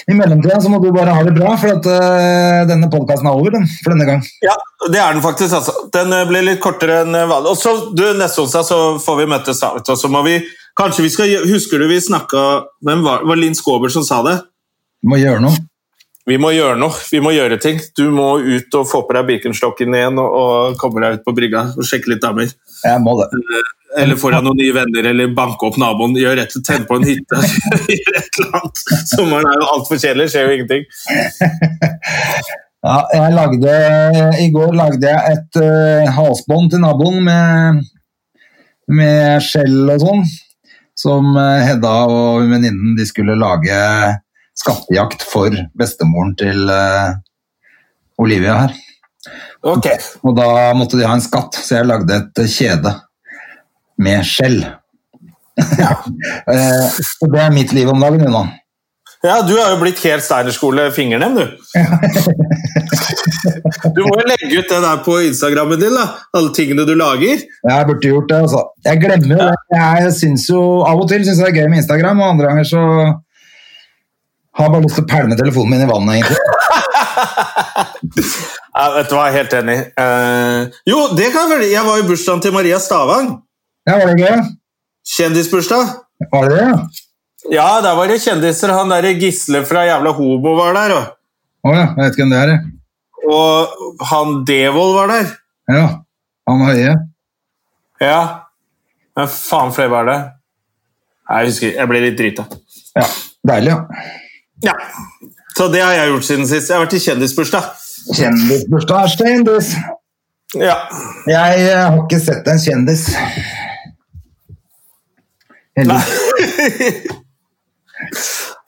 I mellomtida så må du bare ha det bra, for at eh, denne podkasten er over den, for denne gang.
Ja, det er den faktisk. altså. Den eh, blir litt kortere enn eh, vanlig. Og så, du, Neste onsdag så får vi møtes, da, vet du, og så må vi Kanskje vi skal gjø- Husker du vi snakka Hvem var var Linn Skåber som sa det?
Du må gjøre noe.
Vi må gjøre noe. Vi må gjøre ting. Du må ut og få på deg Birkenstocken igjen og, og komme deg ut på brygga og sjekke litt damer.
Jeg må det.
Eller få deg noen nye venner, eller banke opp naboen. Gjør rett og tenne på en hytte. Gjør et eller annet. Sommeren er jo altfor kjedelig. Skjer jo ingenting.
Ja, jeg lagde, I går lagde jeg et eh, halsbånd til naboen med, med skjell og sånn, som eh, Hedda og venninnen de skulle lage skattejakt for bestemoren til eh, Olivia her.
Ok.
Og da måtte de ha en skatt, så jeg lagde et kjede med skjell. Eh, og det er mitt liv om dagen, Una.
Ja, du har jo blitt helt Steinerskole fingernem, du. Du må jo legge ut det der på Instagrammen din, da. Alle tingene du lager.
Jeg burde gjort det, altså. Jeg glemmer jo det. Jeg synes jo, av og til syns jeg det er gøy med Instagram, og andre ganger så har jeg bare lyst til å pælme telefonen min i vannet, egentlig.
Ja, vet du hva, jeg er helt enig. Eh, jo, det kan jeg vel Jeg var i bursdagen til Maria Stavang.
Ja, var det gøy?
Kjendisbursdag.
Var det det? ja?
Ja, der var det kjendiser. Han derre Gisle fra jævla homo var der, og,
Å ja, jeg vet ikke hvem det er, jeg.
og han Devold var der.
Ja. Han høye.
Ja. Men faen flere var det? Nei, Jeg husker Jeg ble litt drita.
Ja. Deilig, ja.
Ja. Så det har jeg gjort siden sist. Jeg har vært i kjendisbursdag.
Kjendisbursdag er kjendis.
Ja.
Jeg eh, har ikke sett en kjendis. Heldigvis.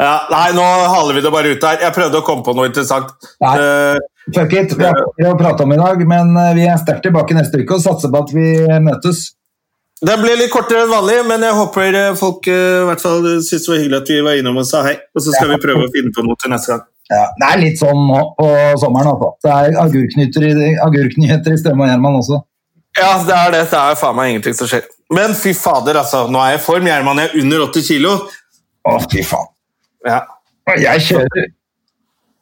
ja. Nei, nå haler vi det bare ut her. Jeg prøvde å komme på noe interessant.
Nei.
Eh,
Fuck it. Vi har ikke å prate om i dag, men eh, vi er sterkt tilbake neste uke og satser på at vi møtes.
den ble litt kortere enn vanlig, men jeg håper eh, folk eh, i hvert fall syntes det var hyggelig at vi var innom og sa hei. Og så skal vi prøve å finne på noe til neste gang.
Ja, det er litt sånn nå på sommeren. Altså. Det er agurknyter i, agurknyheter i Stømme og Gjerman også.
Ja, det er det. Det er faen meg ingenting som skjer. Men fy fader, altså. Nå er jeg i form. Gjerman jeg er under 80 kilo.
Å, fy faen.
Ja,
Jeg kjører.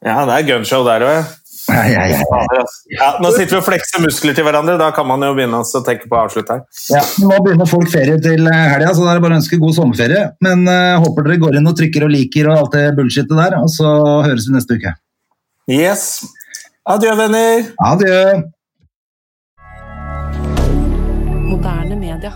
ja det er gunshow der òg.
Nei, nei, nei.
Fader, altså. Ja, nå sitter vi og flekser muskler til hverandre. Da kan man jo begynne å tenke på å avslutte her.
Ja, nå begynner folk ferie til helga, så da er det bare å ønske god sommerferie. Men eh, håper dere går inn og trykker og liker og alt det bullshitet der. Og så høres vi neste uke.
Yes. Adjø, venner.
Adjø.
Moderne media.